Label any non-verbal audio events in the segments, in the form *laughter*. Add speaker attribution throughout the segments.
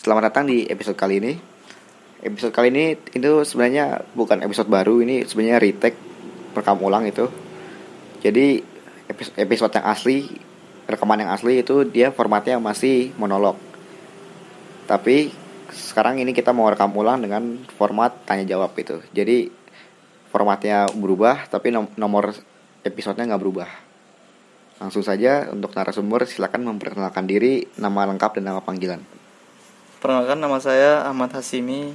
Speaker 1: Selamat datang di episode kali ini. Episode kali ini itu sebenarnya bukan episode baru, ini sebenarnya retake rekam ulang itu. Jadi episode, episode yang asli, rekaman yang asli itu dia formatnya masih monolog. Tapi sekarang ini kita mau rekam ulang dengan format tanya jawab itu. Jadi formatnya berubah tapi nom- nomor episodenya nggak berubah. Langsung saja untuk narasumber silakan memperkenalkan diri, nama lengkap dan nama panggilan.
Speaker 2: Perkenalkan nama saya Ahmad Hasimi,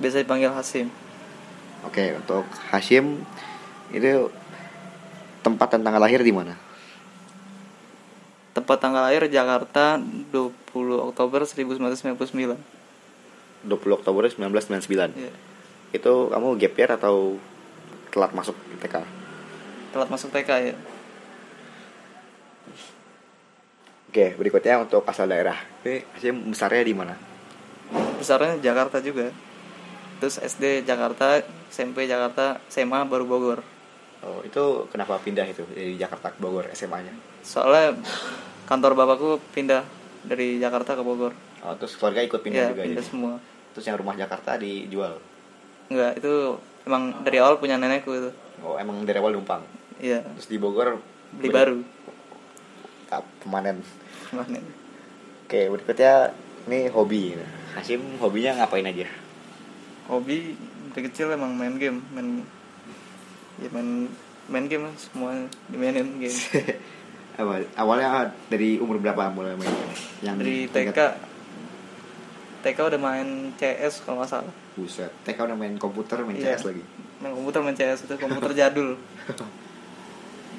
Speaker 2: biasa dipanggil Hasim.
Speaker 1: Oke, untuk Hashim itu tempat dan tanggal lahir di mana?
Speaker 2: Tempat tanggal lahir Jakarta 20 Oktober 1999.
Speaker 1: 20 Oktober 1999.
Speaker 2: Iya.
Speaker 1: Hmm. Itu kamu gap year atau telat masuk TK?
Speaker 2: Telat masuk TK ya.
Speaker 1: Oke, berikutnya untuk asal daerah. Ini Hashim besarnya di mana?
Speaker 2: Besarnya Jakarta juga. Terus SD Jakarta, SMP Jakarta, SMA baru Bogor.
Speaker 1: Oh, itu kenapa pindah itu dari Jakarta ke Bogor SMA-nya?
Speaker 2: Soalnya kantor bapakku pindah dari Jakarta ke Bogor.
Speaker 1: Oh, terus keluarga ikut pindah
Speaker 2: Iya,
Speaker 1: juga
Speaker 2: pindah
Speaker 1: jadi.
Speaker 2: semua.
Speaker 1: Terus yang rumah Jakarta dijual.
Speaker 2: Enggak, itu emang dari awal punya nenekku itu.
Speaker 1: Oh, emang dari awal numpang.
Speaker 2: Iya,
Speaker 1: Terus di Bogor
Speaker 2: beli baru.
Speaker 1: Ah, Permanen.
Speaker 2: Mana?
Speaker 1: Oke, berikutnya ini hobi. Nah, Hashim hobinya ngapain aja?
Speaker 2: hobi dari kecil emang main game main ya main main game lah, semuanya dimainin game
Speaker 1: Awal, awalnya dari umur berapa mulai main game? Yang
Speaker 2: dari TK
Speaker 1: ingat?
Speaker 2: TK udah main CS kalau nggak salah
Speaker 1: Buset, TK udah main komputer, main
Speaker 2: Iya.
Speaker 1: CS lagi.
Speaker 2: main komputer main CS itu komputer jadul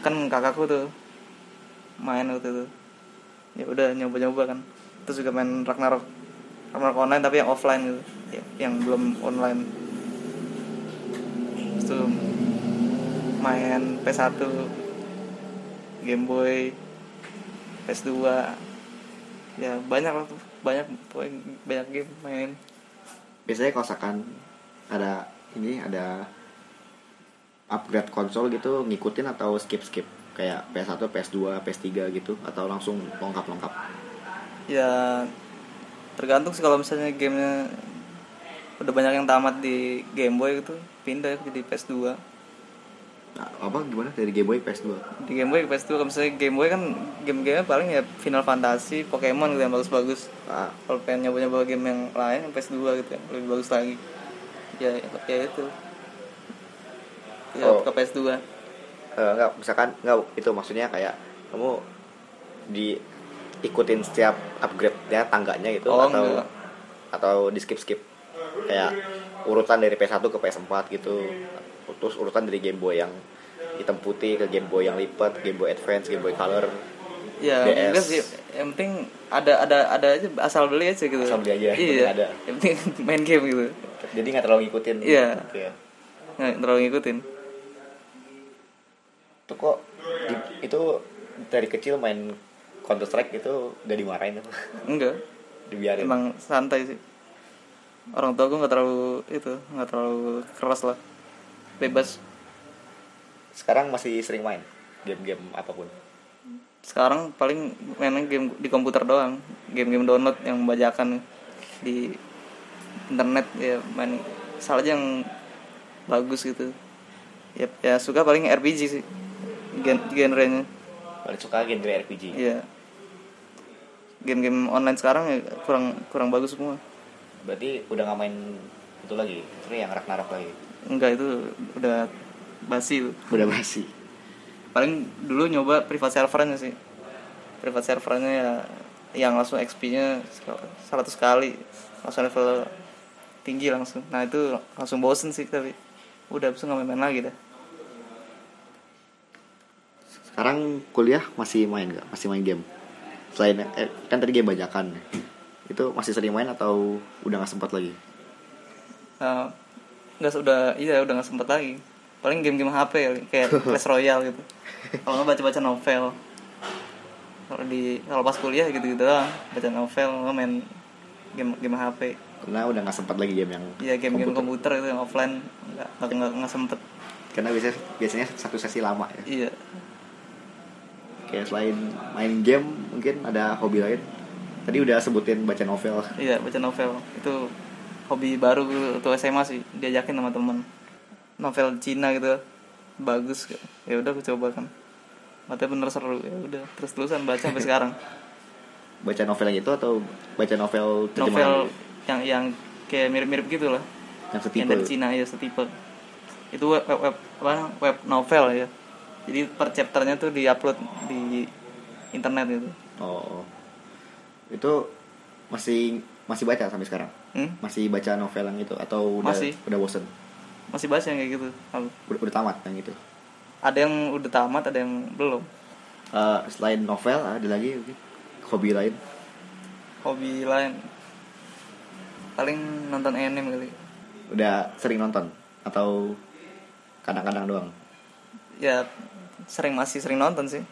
Speaker 2: kan kakakku tuh main waktu itu ya udah nyoba nyoba kan terus juga main Ragnarok Ragnarok online tapi yang offline gitu Ya, yang belum online terus tuh main PS1 Game Boy PS2 ya banyak lah tuh banyak pokoknya banyak game main
Speaker 1: Biasanya kalau misalkan ada ini ada upgrade konsol gitu ngikutin atau skip-skip kayak PS1, PS2, PS3 gitu atau langsung lengkap-lengkap.
Speaker 2: ya tergantung sih kalau misalnya gamenya udah banyak yang tamat di Game Boy gitu pindah jadi PS2
Speaker 1: Nah, apa gimana dari Game Boy PS2?
Speaker 2: di Game Boy ke PS2 kalau misalnya Game Boy kan game-gamenya paling ya Final Fantasy Pokemon gitu yang bagus-bagus
Speaker 1: Ah,
Speaker 2: kalau pengen nyoba-nyoba game yang lain yang PS2 gitu yang lebih bagus lagi ya ya itu ya
Speaker 1: Oh.
Speaker 2: ke PS2
Speaker 1: eh, nggak misalkan nggak itu maksudnya kayak kamu diikutin setiap upgrade-nya tangganya gitu
Speaker 2: Oh,
Speaker 1: atau
Speaker 2: enggak.
Speaker 1: atau di skip-skip kayak urutan dari PS1 ke PS4 gitu terus urutan dari Game Boy yang hitam putih ke Game Boy yang lipat Game Boy Advance Game Boy Color
Speaker 2: ya
Speaker 1: DS.
Speaker 2: enggak sih yang penting ada ada ada aja asal beli aja gitu
Speaker 1: Asal beli aja, yang
Speaker 2: iya
Speaker 1: penting ada.
Speaker 2: yang penting *laughs* main game gitu
Speaker 1: jadi nggak terlalu ngikutin
Speaker 2: Iya.
Speaker 1: gitu ya.
Speaker 2: nggak terlalu ngikutin
Speaker 1: itu kok di- itu dari kecil main Counter Strike itu gak dimarahin apa?
Speaker 2: enggak
Speaker 1: *laughs* dibiarin
Speaker 2: emang santai sih orang tua gue nggak terlalu itu nggak terlalu keras lah bebas
Speaker 1: sekarang masih sering main game-game apapun
Speaker 2: sekarang paling mainnya game di komputer doang game-game download yang bajakan di internet ya main salah aja yang bagus gitu ya, ya suka paling RPG sih gen genrenya
Speaker 1: paling suka genre RPG
Speaker 2: ya game-game online sekarang ya kurang kurang bagus semua
Speaker 1: Berarti udah nggak main itu lagi, itu yang Ragnarok lagi.
Speaker 2: enggak itu udah basi tuh.
Speaker 1: Udah basi.
Speaker 2: paling dulu nyoba private servernya sih private servernya ya yang langsung XP-nya 100 kali langsung level tinggi langsung nah itu langsung bosen sih tapi udah bisa nggak main lagi dah
Speaker 1: Sekarang kuliah masih main nggak? Masih main game? Selain eh, kan tadi game bajakan, itu masih sering main atau udah nggak sempat lagi?
Speaker 2: Eh, nggak se- udah iya udah nggak sempet lagi paling game-game HP kali, kayak Clash Royale gitu kalau nggak baca-baca novel kalau di kalau pas kuliah gitu gitu doang baca novel nggak main game game HP
Speaker 1: Karena udah nggak sempat lagi game yang
Speaker 2: Iya game-game komputer. itu yang offline nggak nggak nggak nggak sempet
Speaker 1: karena biasanya biasanya satu sesi lama ya.
Speaker 2: iya
Speaker 1: Kayak selain main game mungkin ada hobi lain. Tadi udah sebutin baca novel.
Speaker 2: Iya baca novel itu hobi baru gue waktu SMA sih diajakin sama temen novel Cina gitu bagus ya udah aku coba kan matanya bener seru ya udah terus terusan baca sampai sekarang
Speaker 1: Baca novel yang itu atau baca novel terjemahan
Speaker 2: novel yang yang kayak mirip-mirip gitu lah
Speaker 1: yang
Speaker 2: yang
Speaker 1: setipe.
Speaker 2: dari Cina ya setipe itu web web, web, apa, web novel ya jadi per chapternya tuh diupload di internet gitu
Speaker 1: Oh, oh. Itu masih masih baca sampai sekarang.
Speaker 2: hmm?
Speaker 1: Masih baca novel yang itu atau udah
Speaker 2: Masih.
Speaker 1: udah bosen?
Speaker 2: masih baca yang kayak gitu Halo.
Speaker 1: Udah, udah tamat yang itu.
Speaker 2: ada yang udah tamat ada yang belum
Speaker 1: Eh, selain novel ada lagi mungkin? hobi lain
Speaker 2: hobi lain paling nonton anime kali
Speaker 1: udah sering nonton atau kadang-kadang doang
Speaker 2: ya sering masih sering nonton sih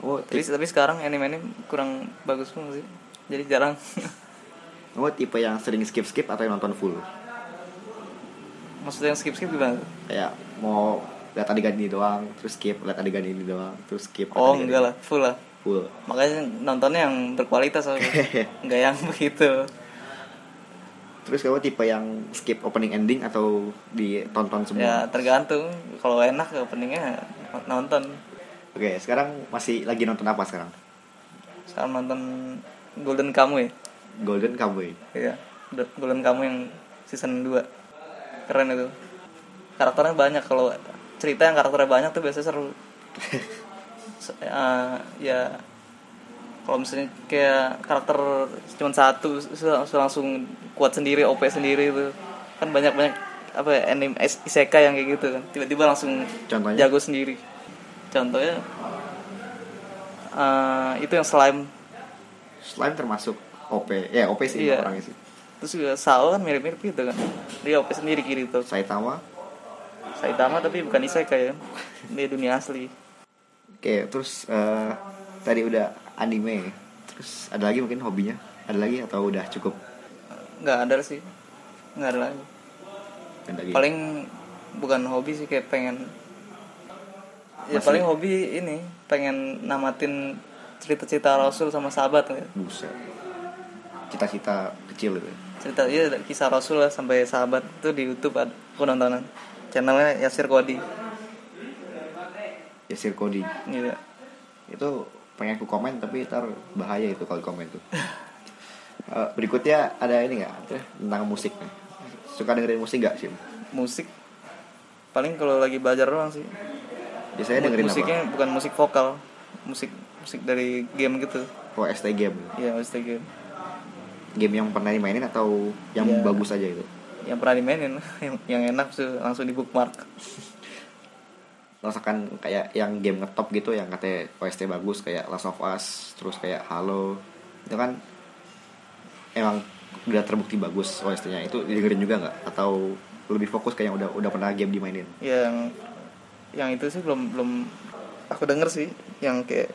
Speaker 1: oh
Speaker 2: tapi,
Speaker 1: tipe,
Speaker 2: tapi sekarang anime anime kurang bagus pun sih jadi jarang *laughs*
Speaker 1: oh tipe yang sering skip skip atau yang nonton full
Speaker 2: maksudnya yang skip skip gimana tuh?
Speaker 1: kayak mau lihat adegan ini doang terus skip lihat adegan ini doang terus skip lihat
Speaker 2: oh
Speaker 1: adegan
Speaker 2: enggak
Speaker 1: ini.
Speaker 2: lah full lah
Speaker 1: full
Speaker 2: makanya nontonnya yang berkualitas *laughs* aku nggak yang begitu
Speaker 1: terus kamu tipe yang skip opening ending atau ditonton semua
Speaker 2: ya tergantung kalau enak openingnya nonton
Speaker 1: oke sekarang masih lagi nonton apa sekarang
Speaker 2: sekarang nonton Golden Kamu ya
Speaker 1: Golden Cowboy
Speaker 2: iya Do- Golden Kamu yang season 2 keren itu karakternya banyak kalau cerita yang karakternya banyak tuh biasanya seru Se- eh, ya kalau misalnya kayak karakter cuma satu se- se- langsung kuat sendiri OP sendiri itu kan banyak banyak apa ya, anime is- isekai yang kayak gitu kan tiba-tiba langsung
Speaker 1: Contohnya?
Speaker 2: jago sendiri contohnya eh, itu yang slime
Speaker 1: slime termasuk OP ya OP sih
Speaker 2: Iya.
Speaker 1: orangnya sih
Speaker 2: terus juga Sao kan mirip-mirip gitu kan dia OP sendiri kiri tuh
Speaker 1: Saitama
Speaker 2: Saitama tapi bukan isekai ya dia dunia asli
Speaker 1: Oke, terus eh, tadi udah anime. Terus ada lagi mungkin hobinya? Ada lagi atau udah cukup?
Speaker 2: nggak ada sih nggak ada lagi
Speaker 1: Ada lagi.
Speaker 2: paling bukan hobi sih kayak pengen ya
Speaker 1: Masih-
Speaker 2: paling hobi ini pengen namatin cerita-cerita Rasul sama sahabat gitu.
Speaker 1: Buset. Cita-cita kecil gitu.
Speaker 2: cerita iya kisah Rasul lah sampai sahabat itu di YouTube ada aku nontonan channelnya Yasir Kodi
Speaker 1: Yasir Kodi.
Speaker 2: gitu
Speaker 1: Ya, Itu pengen ku komen tapi ntar bahaya itu kalau komen
Speaker 2: *laughs*
Speaker 1: tuh. Eh, berikutnya ada ini nggak tentang musik suka dengerin musik nggak sih
Speaker 2: musik paling kalau lagi belajar doang sih
Speaker 1: biasanya dengerin
Speaker 2: musiknya bukan musik vokal musik musik dari game gitu
Speaker 1: apa oh ST game
Speaker 2: ya musik dari game
Speaker 1: game yang pernah dimainin atau yang
Speaker 2: Iya.
Speaker 1: bagus aja itu
Speaker 2: yang pernah dimainin *laughs* yang, yang enak tuh langsung di bookmark
Speaker 1: rasakan kayak yang game ngetop gitu yang katanya OST bagus kayak Last of Us terus kayak Halo itu kan emang udah terbukti bagus OST-nya itu dengerin juga nggak atau lebih fokus kayak yang udah udah pernah game dimainin
Speaker 2: yang yang itu sih belum belum aku denger sih yang kayak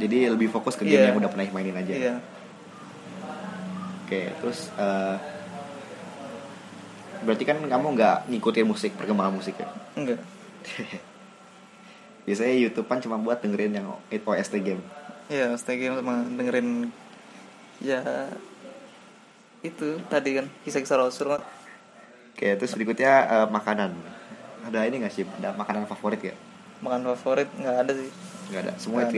Speaker 1: jadi lebih fokus ke game
Speaker 2: Iya.
Speaker 1: yang udah pernah dimainin aja
Speaker 2: iya
Speaker 1: oke terus eh, berarti kan kamu nggak ngikutin musik perkembangan musik ya
Speaker 2: enggak
Speaker 1: biasanya YouTube kan cuma buat dengerin yang OST game
Speaker 2: iya stay game sama dengerin ya itu tadi kan kisah-kisah Rasul
Speaker 1: oke terus berikutnya eh, makanan ada ini nggak sih ada makanan favorit ya
Speaker 2: makan favorit nggak ada sih
Speaker 1: Gak ada, semuanya
Speaker 2: Nggak ada.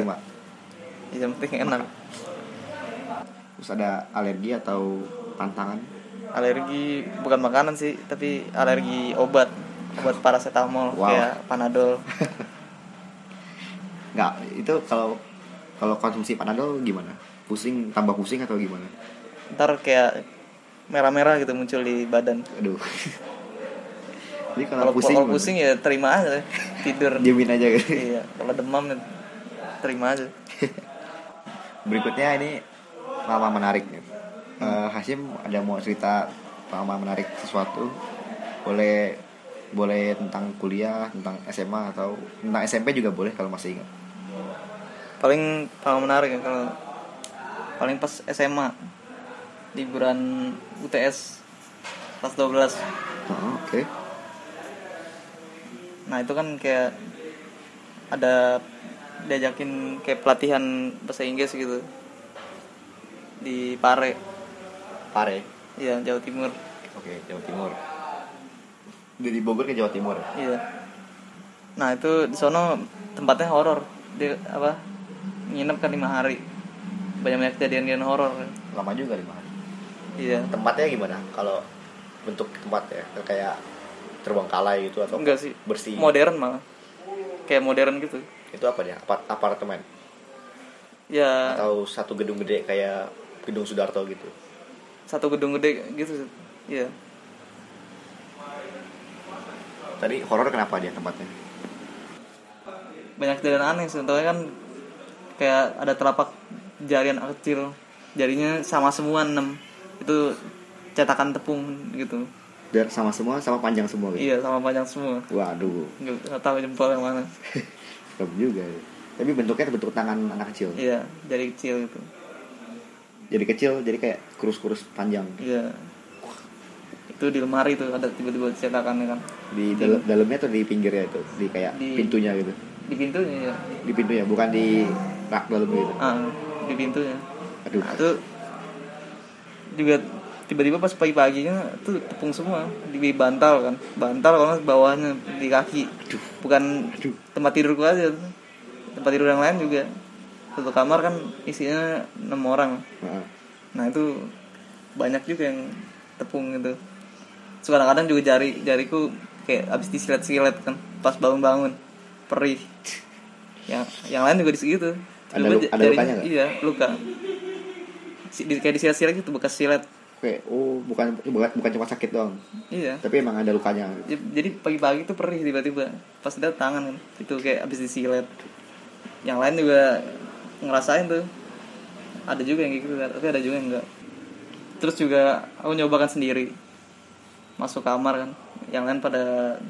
Speaker 1: terima.
Speaker 2: yang penting enak
Speaker 1: Terus ada alergi atau tantangan?
Speaker 2: alergi bukan makanan sih tapi alergi obat obat paracetamol
Speaker 1: Wow.
Speaker 2: kayak panadol
Speaker 1: Nggak, itu kalau kalau konsumsi panadol gimana? Pusing, tambah pusing atau gimana?
Speaker 2: ntar kayak merah-merah gitu muncul di badan
Speaker 1: Aduh. *laughs* Jadi kalau
Speaker 2: kalau
Speaker 1: Nah, pusing,
Speaker 2: kalau
Speaker 1: gimana?
Speaker 2: pusing ya terima aja tidur
Speaker 1: *laughs* diemin aja *laughs* gitu.
Speaker 2: iya kalau demam ya terima aja
Speaker 1: Berikutnya ini lama menarik nih. Eh,
Speaker 2: Hmm.
Speaker 1: Hasim ada mau cerita lama menarik sesuatu? Boleh boleh tentang kuliah, tentang SMA atau tentang SMP juga boleh kalau masih ingat.
Speaker 2: paling paling menarik ya kalau paling pas SMA liburan UTS kelas 12
Speaker 1: Oh, Oke.
Speaker 2: nah itu kan kayak ada diajakin kayak pelatihan bahasa Inggris gitu di Pare
Speaker 1: Pare.
Speaker 2: ya Jawa Timur
Speaker 1: Oke, Jawa Timur. Dari Bogor ke Jawa Timur.
Speaker 2: Iya. Nah itu di sono tempatnya horor. Dia apa? Nginep kan lima hari. Banyak banyak kejadian-kejadian horor.
Speaker 1: Lama juga lima hari.
Speaker 2: Iya.
Speaker 1: Tempatnya gimana? Kalau bentuk tempatnya kayak terbengkalai gitu atau
Speaker 2: Enggak sih.
Speaker 1: bersih.
Speaker 2: Modern malah. Kayak modern gitu.
Speaker 1: Itu apa dia? Apart- apartemen
Speaker 2: Ya
Speaker 1: atau satu gedung gede kayak gedung Sudarto gitu.
Speaker 2: satu gedung gede gitu. sih. Iya.
Speaker 1: Tadi horor kenapa dia tempatnya?
Speaker 2: Banyak kejadian aneh. Contohnya kan kayak ada telapak jari anak kecil. Jarinya sama semua enam. Itu cetakan tepung gitu.
Speaker 1: Dan sama semua sama panjang semua gitu.
Speaker 2: Iya sama panjang semua.
Speaker 1: Waduh,
Speaker 2: Nggak nggak tahu jempol yang mana.
Speaker 1: serem juga. ya. Tapi bentuknya bentuk tangan anak kecil.
Speaker 2: Iya, jari kecil gitu.
Speaker 1: Jadi kecil, jadi kayak kurus-kurus panjang.
Speaker 2: Iya. Itu di lemari tuh ada tiba-tiba cetakannya kan.
Speaker 1: Di dal- dalamnya atau di pinggirnya itu, di kayak
Speaker 2: Di-
Speaker 1: pintunya gitu.
Speaker 2: Di pintunya ya.
Speaker 1: Di pintunya, bukan di rak dalam gitu.
Speaker 2: Ah, di pintunya.
Speaker 1: Aduh,
Speaker 2: Nah, itu juga tiba-tiba pas pagi-paginya tuh tepung semua di di bantal kan. Bantal kalau nggak bawahnya di kaki. Bukan
Speaker 1: Aduh.
Speaker 2: tempat tidur gua aja. tuh. Tempat tidur yang lain juga. Satu kamar kan isinya 6 orang.
Speaker 1: Heeh.
Speaker 2: Nah itu banyak juga yang tepung gitu. Terus kadang-kadang juga jari jariku kayak abis disilet-silet kan pas bangun-bangun perih. Yang yang lain juga di segitu.
Speaker 1: Ada
Speaker 2: Cuma
Speaker 1: lu- ada
Speaker 2: jarinya-
Speaker 1: lukanya nggak?
Speaker 2: Iya luka. Si- di- kayak disilet-silet gitu bekas silet.
Speaker 1: Oke, oh bukan bukan bukan cuma sakit doang,
Speaker 2: Iya.
Speaker 1: tapi emang ada lukanya. gitu.
Speaker 2: J- Ya, Jadi pagi-pagi tuh perih tiba-tiba pas dia tangan kan itu kayak abis disilet. Yang lain juga ngerasain tuh. Ada juga yang kayak gitu kan, tapi ada juga yang enggak. Terus juga aku nyobakan sendiri. Masuk kamar kan. Yang lain pada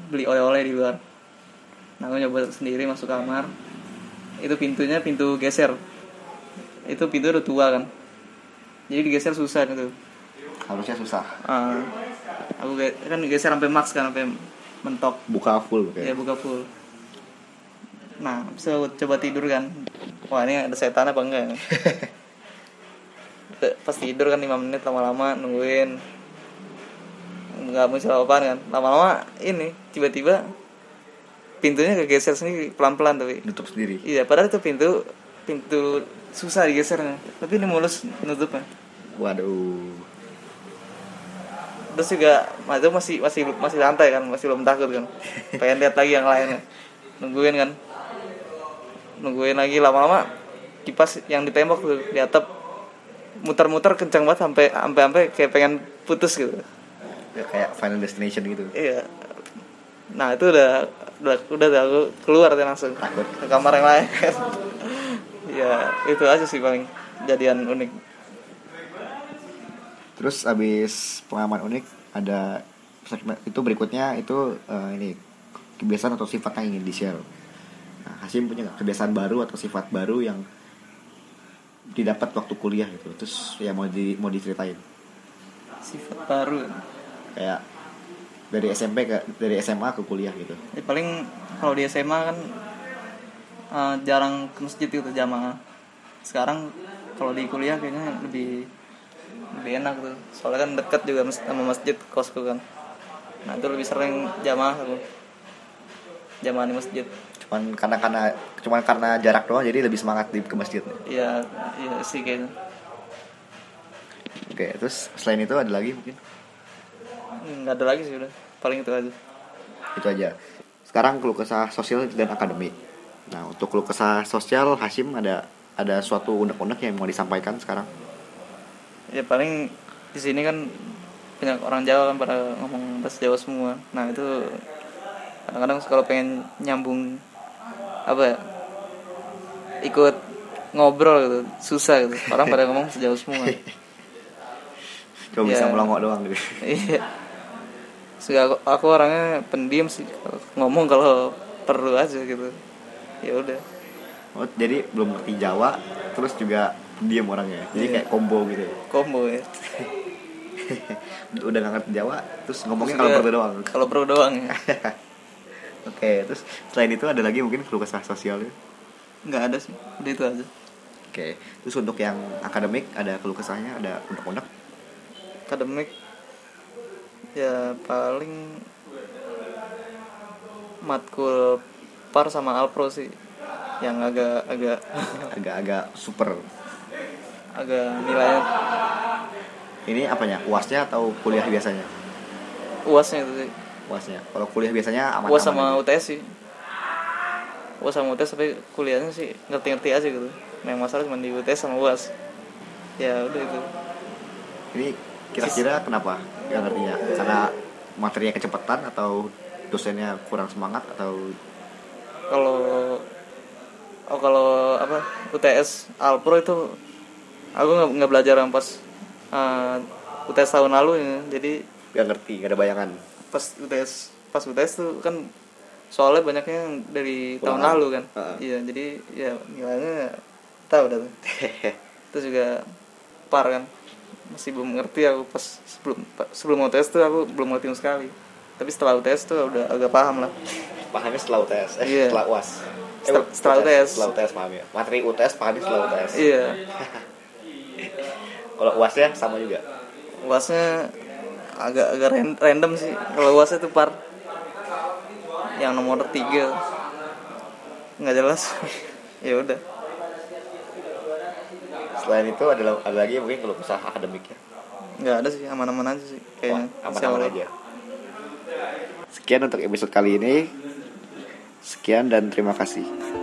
Speaker 2: beli oleh-oleh di luar. Nah, aku nyoba sendiri masuk kamar. Itu pintunya pintu geser. Itu pintu udah tua kan. Jadi digeser susah gitu.
Speaker 1: Harusnya susah.
Speaker 2: Ah, aku ge- kan geser sampai max kan sampai mentok
Speaker 1: Buka full
Speaker 2: ya
Speaker 1: kayak.
Speaker 2: buka full nah bisa coba tidur kan wah ini ada setan apa enggak Te- pas tidur kan 5 menit lama-lama nungguin nggak muncul apa kan lama-lama ini tiba-tiba pintunya kegeser sendiri pelan-pelan tapi
Speaker 1: Nutup sendiri.
Speaker 2: iya padahal itu pintu pintu susah digesernya tapi ini mulus nutupnya
Speaker 1: Waduh.
Speaker 2: terus juga mas itu masih masih masih santai kan masih belum takut kan pengen lihat lagi yang lainnya nungguin kan nungguin lagi lama-lama kipas yang di tembok tuh di atap muter-muter kencang banget sampai sampai sampai kayak pengen putus gitu
Speaker 1: Ya, kayak final destination gitu.
Speaker 2: iya nah itu udah udah udah tuh aku keluar tuh langsung
Speaker 1: Takut.
Speaker 2: ke kamar yang lain *laughs* ya itu aja sih paling jadian unik
Speaker 1: Terus abis pengalaman unik ada segmen itu berikutnya itu eh, ini kebiasaan atau sifat yang ingin di share. Nah, Hasim punya nggak kebiasaan baru atau sifat baru yang didapat waktu kuliah gitu. Terus ya mau di mau diceritain
Speaker 2: sifat baru
Speaker 1: kayak dari SMP ke dari SMA ke kuliah gitu.
Speaker 2: Ya, paling kalau di SMA kan eh, jarang ke masjid gitu jamaah. Sekarang kalau di kuliah kayaknya lebih lebih enak tuh. Soalnya kan dekat juga mas- sama masjid kosku kan. Nah itu lebih sering jamaah aku. Jamaah di masjid.
Speaker 1: Cuman karena karena cuman karena jarak doang jadi lebih semangat di ke masjid.
Speaker 2: Iya iya sih kayaknya.
Speaker 1: Oke, terus selain itu ada lagi mungkin
Speaker 2: Nggak ada lagi sih udah. Paling itu aja.
Speaker 1: itu aja sekarang keluh kesah sosial dan akademik nah untuk keluh kesah sosial Hasim ada ada suatu unek-unek yang mau disampaikan sekarang
Speaker 2: ya paling di sini kan banyak orang Jawa kan pada ngomong bahasa Jawa semua nah itu kadang-kadang kalau pengen nyambung apa ya ikut ngobrol gitu susah gitu orang pada ngomong bahasa Jawa
Speaker 1: *laughs*
Speaker 2: semua
Speaker 1: coba bisa
Speaker 2: Iya.
Speaker 1: melongo doang gitu *laughs*
Speaker 2: iya Suka aku, aku orangnya pendiam sih ngomong kalau perlu aja gitu ya udah
Speaker 1: oh, jadi belum ngerti Jawa terus juga diem orangnya jadi
Speaker 2: Iya.
Speaker 1: kayak combo gitu *laughs* ya.
Speaker 2: combo ya
Speaker 1: udah gak ngerti Jawa terus ngomongnya
Speaker 2: Terus
Speaker 1: kalau
Speaker 2: juga
Speaker 1: perlu doang oke
Speaker 2: kalau perlu doang ya
Speaker 1: *laughs* terus selain itu ada lagi mungkin keluh kesah sosialnya
Speaker 2: nggak ada sih udah itu aja
Speaker 1: Oke. Terus untuk yang akademik ada keluh kesahnya, ada undang-undang.
Speaker 2: akademik ya paling matkul par sama alpro sih yang agak agak *laughs*
Speaker 1: Agak-agak super.
Speaker 2: agak nilainya
Speaker 1: Ini apanya? UASnya atau kuliah biasanya?
Speaker 2: uasnya itu sih
Speaker 1: UASnya. Kalau kuliah biasanya aman.
Speaker 2: uas sama UTS sih uas sama UTS tapi kuliahnya sih ngerti-ngerti aja gitu nah, yang masalah cuma di UTS sama uas ya udah itu
Speaker 1: Ini kira-kira kenapa? Gak ngertinya. Karena materinya kecepatan atau dosennya kurang semangat atau
Speaker 2: kalau oh kalau apa UTS Alpro itu aku nggak nggak belajar yang pas eh, UTS tahun lalu ya. jadi
Speaker 1: gak ngerti, gak ada bayangan. *laughs*
Speaker 2: pas UTS pas UTS tuh kan soalnya banyaknya yang dari tahun
Speaker 1: Ulangan.
Speaker 2: lalu kan
Speaker 1: Heeh.
Speaker 2: iya jadi ya nilainya tahu dah tuh terus juga par kan masih belum ngerti aku pas sebelum sebelum UTS tuh aku belum ngerti sama sekali tapi setelah UTS tuh udah agak paham lah
Speaker 1: pahamnya setelah UTS, eh,
Speaker 2: Iya.
Speaker 1: setelah UAS. Eh,
Speaker 2: Setel- setelah UTS.
Speaker 1: Setelah UTS paham ya. Materi UTS pahamnya setelah UTS.
Speaker 2: iya
Speaker 1: Kalau UASnya sama juga.
Speaker 2: luasnya agak agak ran- random sih kalau luasnya tuh par yang nomor tiga nggak jelas *laughs* ya udah
Speaker 1: Selain itu ada ada lagi mungkin kalau usaha akademiknya.
Speaker 2: nggak ada sih aman-aman aja sih kayaknya
Speaker 1: Wah,
Speaker 2: Iya, Insya
Speaker 1: aman-aman
Speaker 2: Allah.
Speaker 1: aja. Sekian untuk episode kali ini. Sekian dan terima kasih.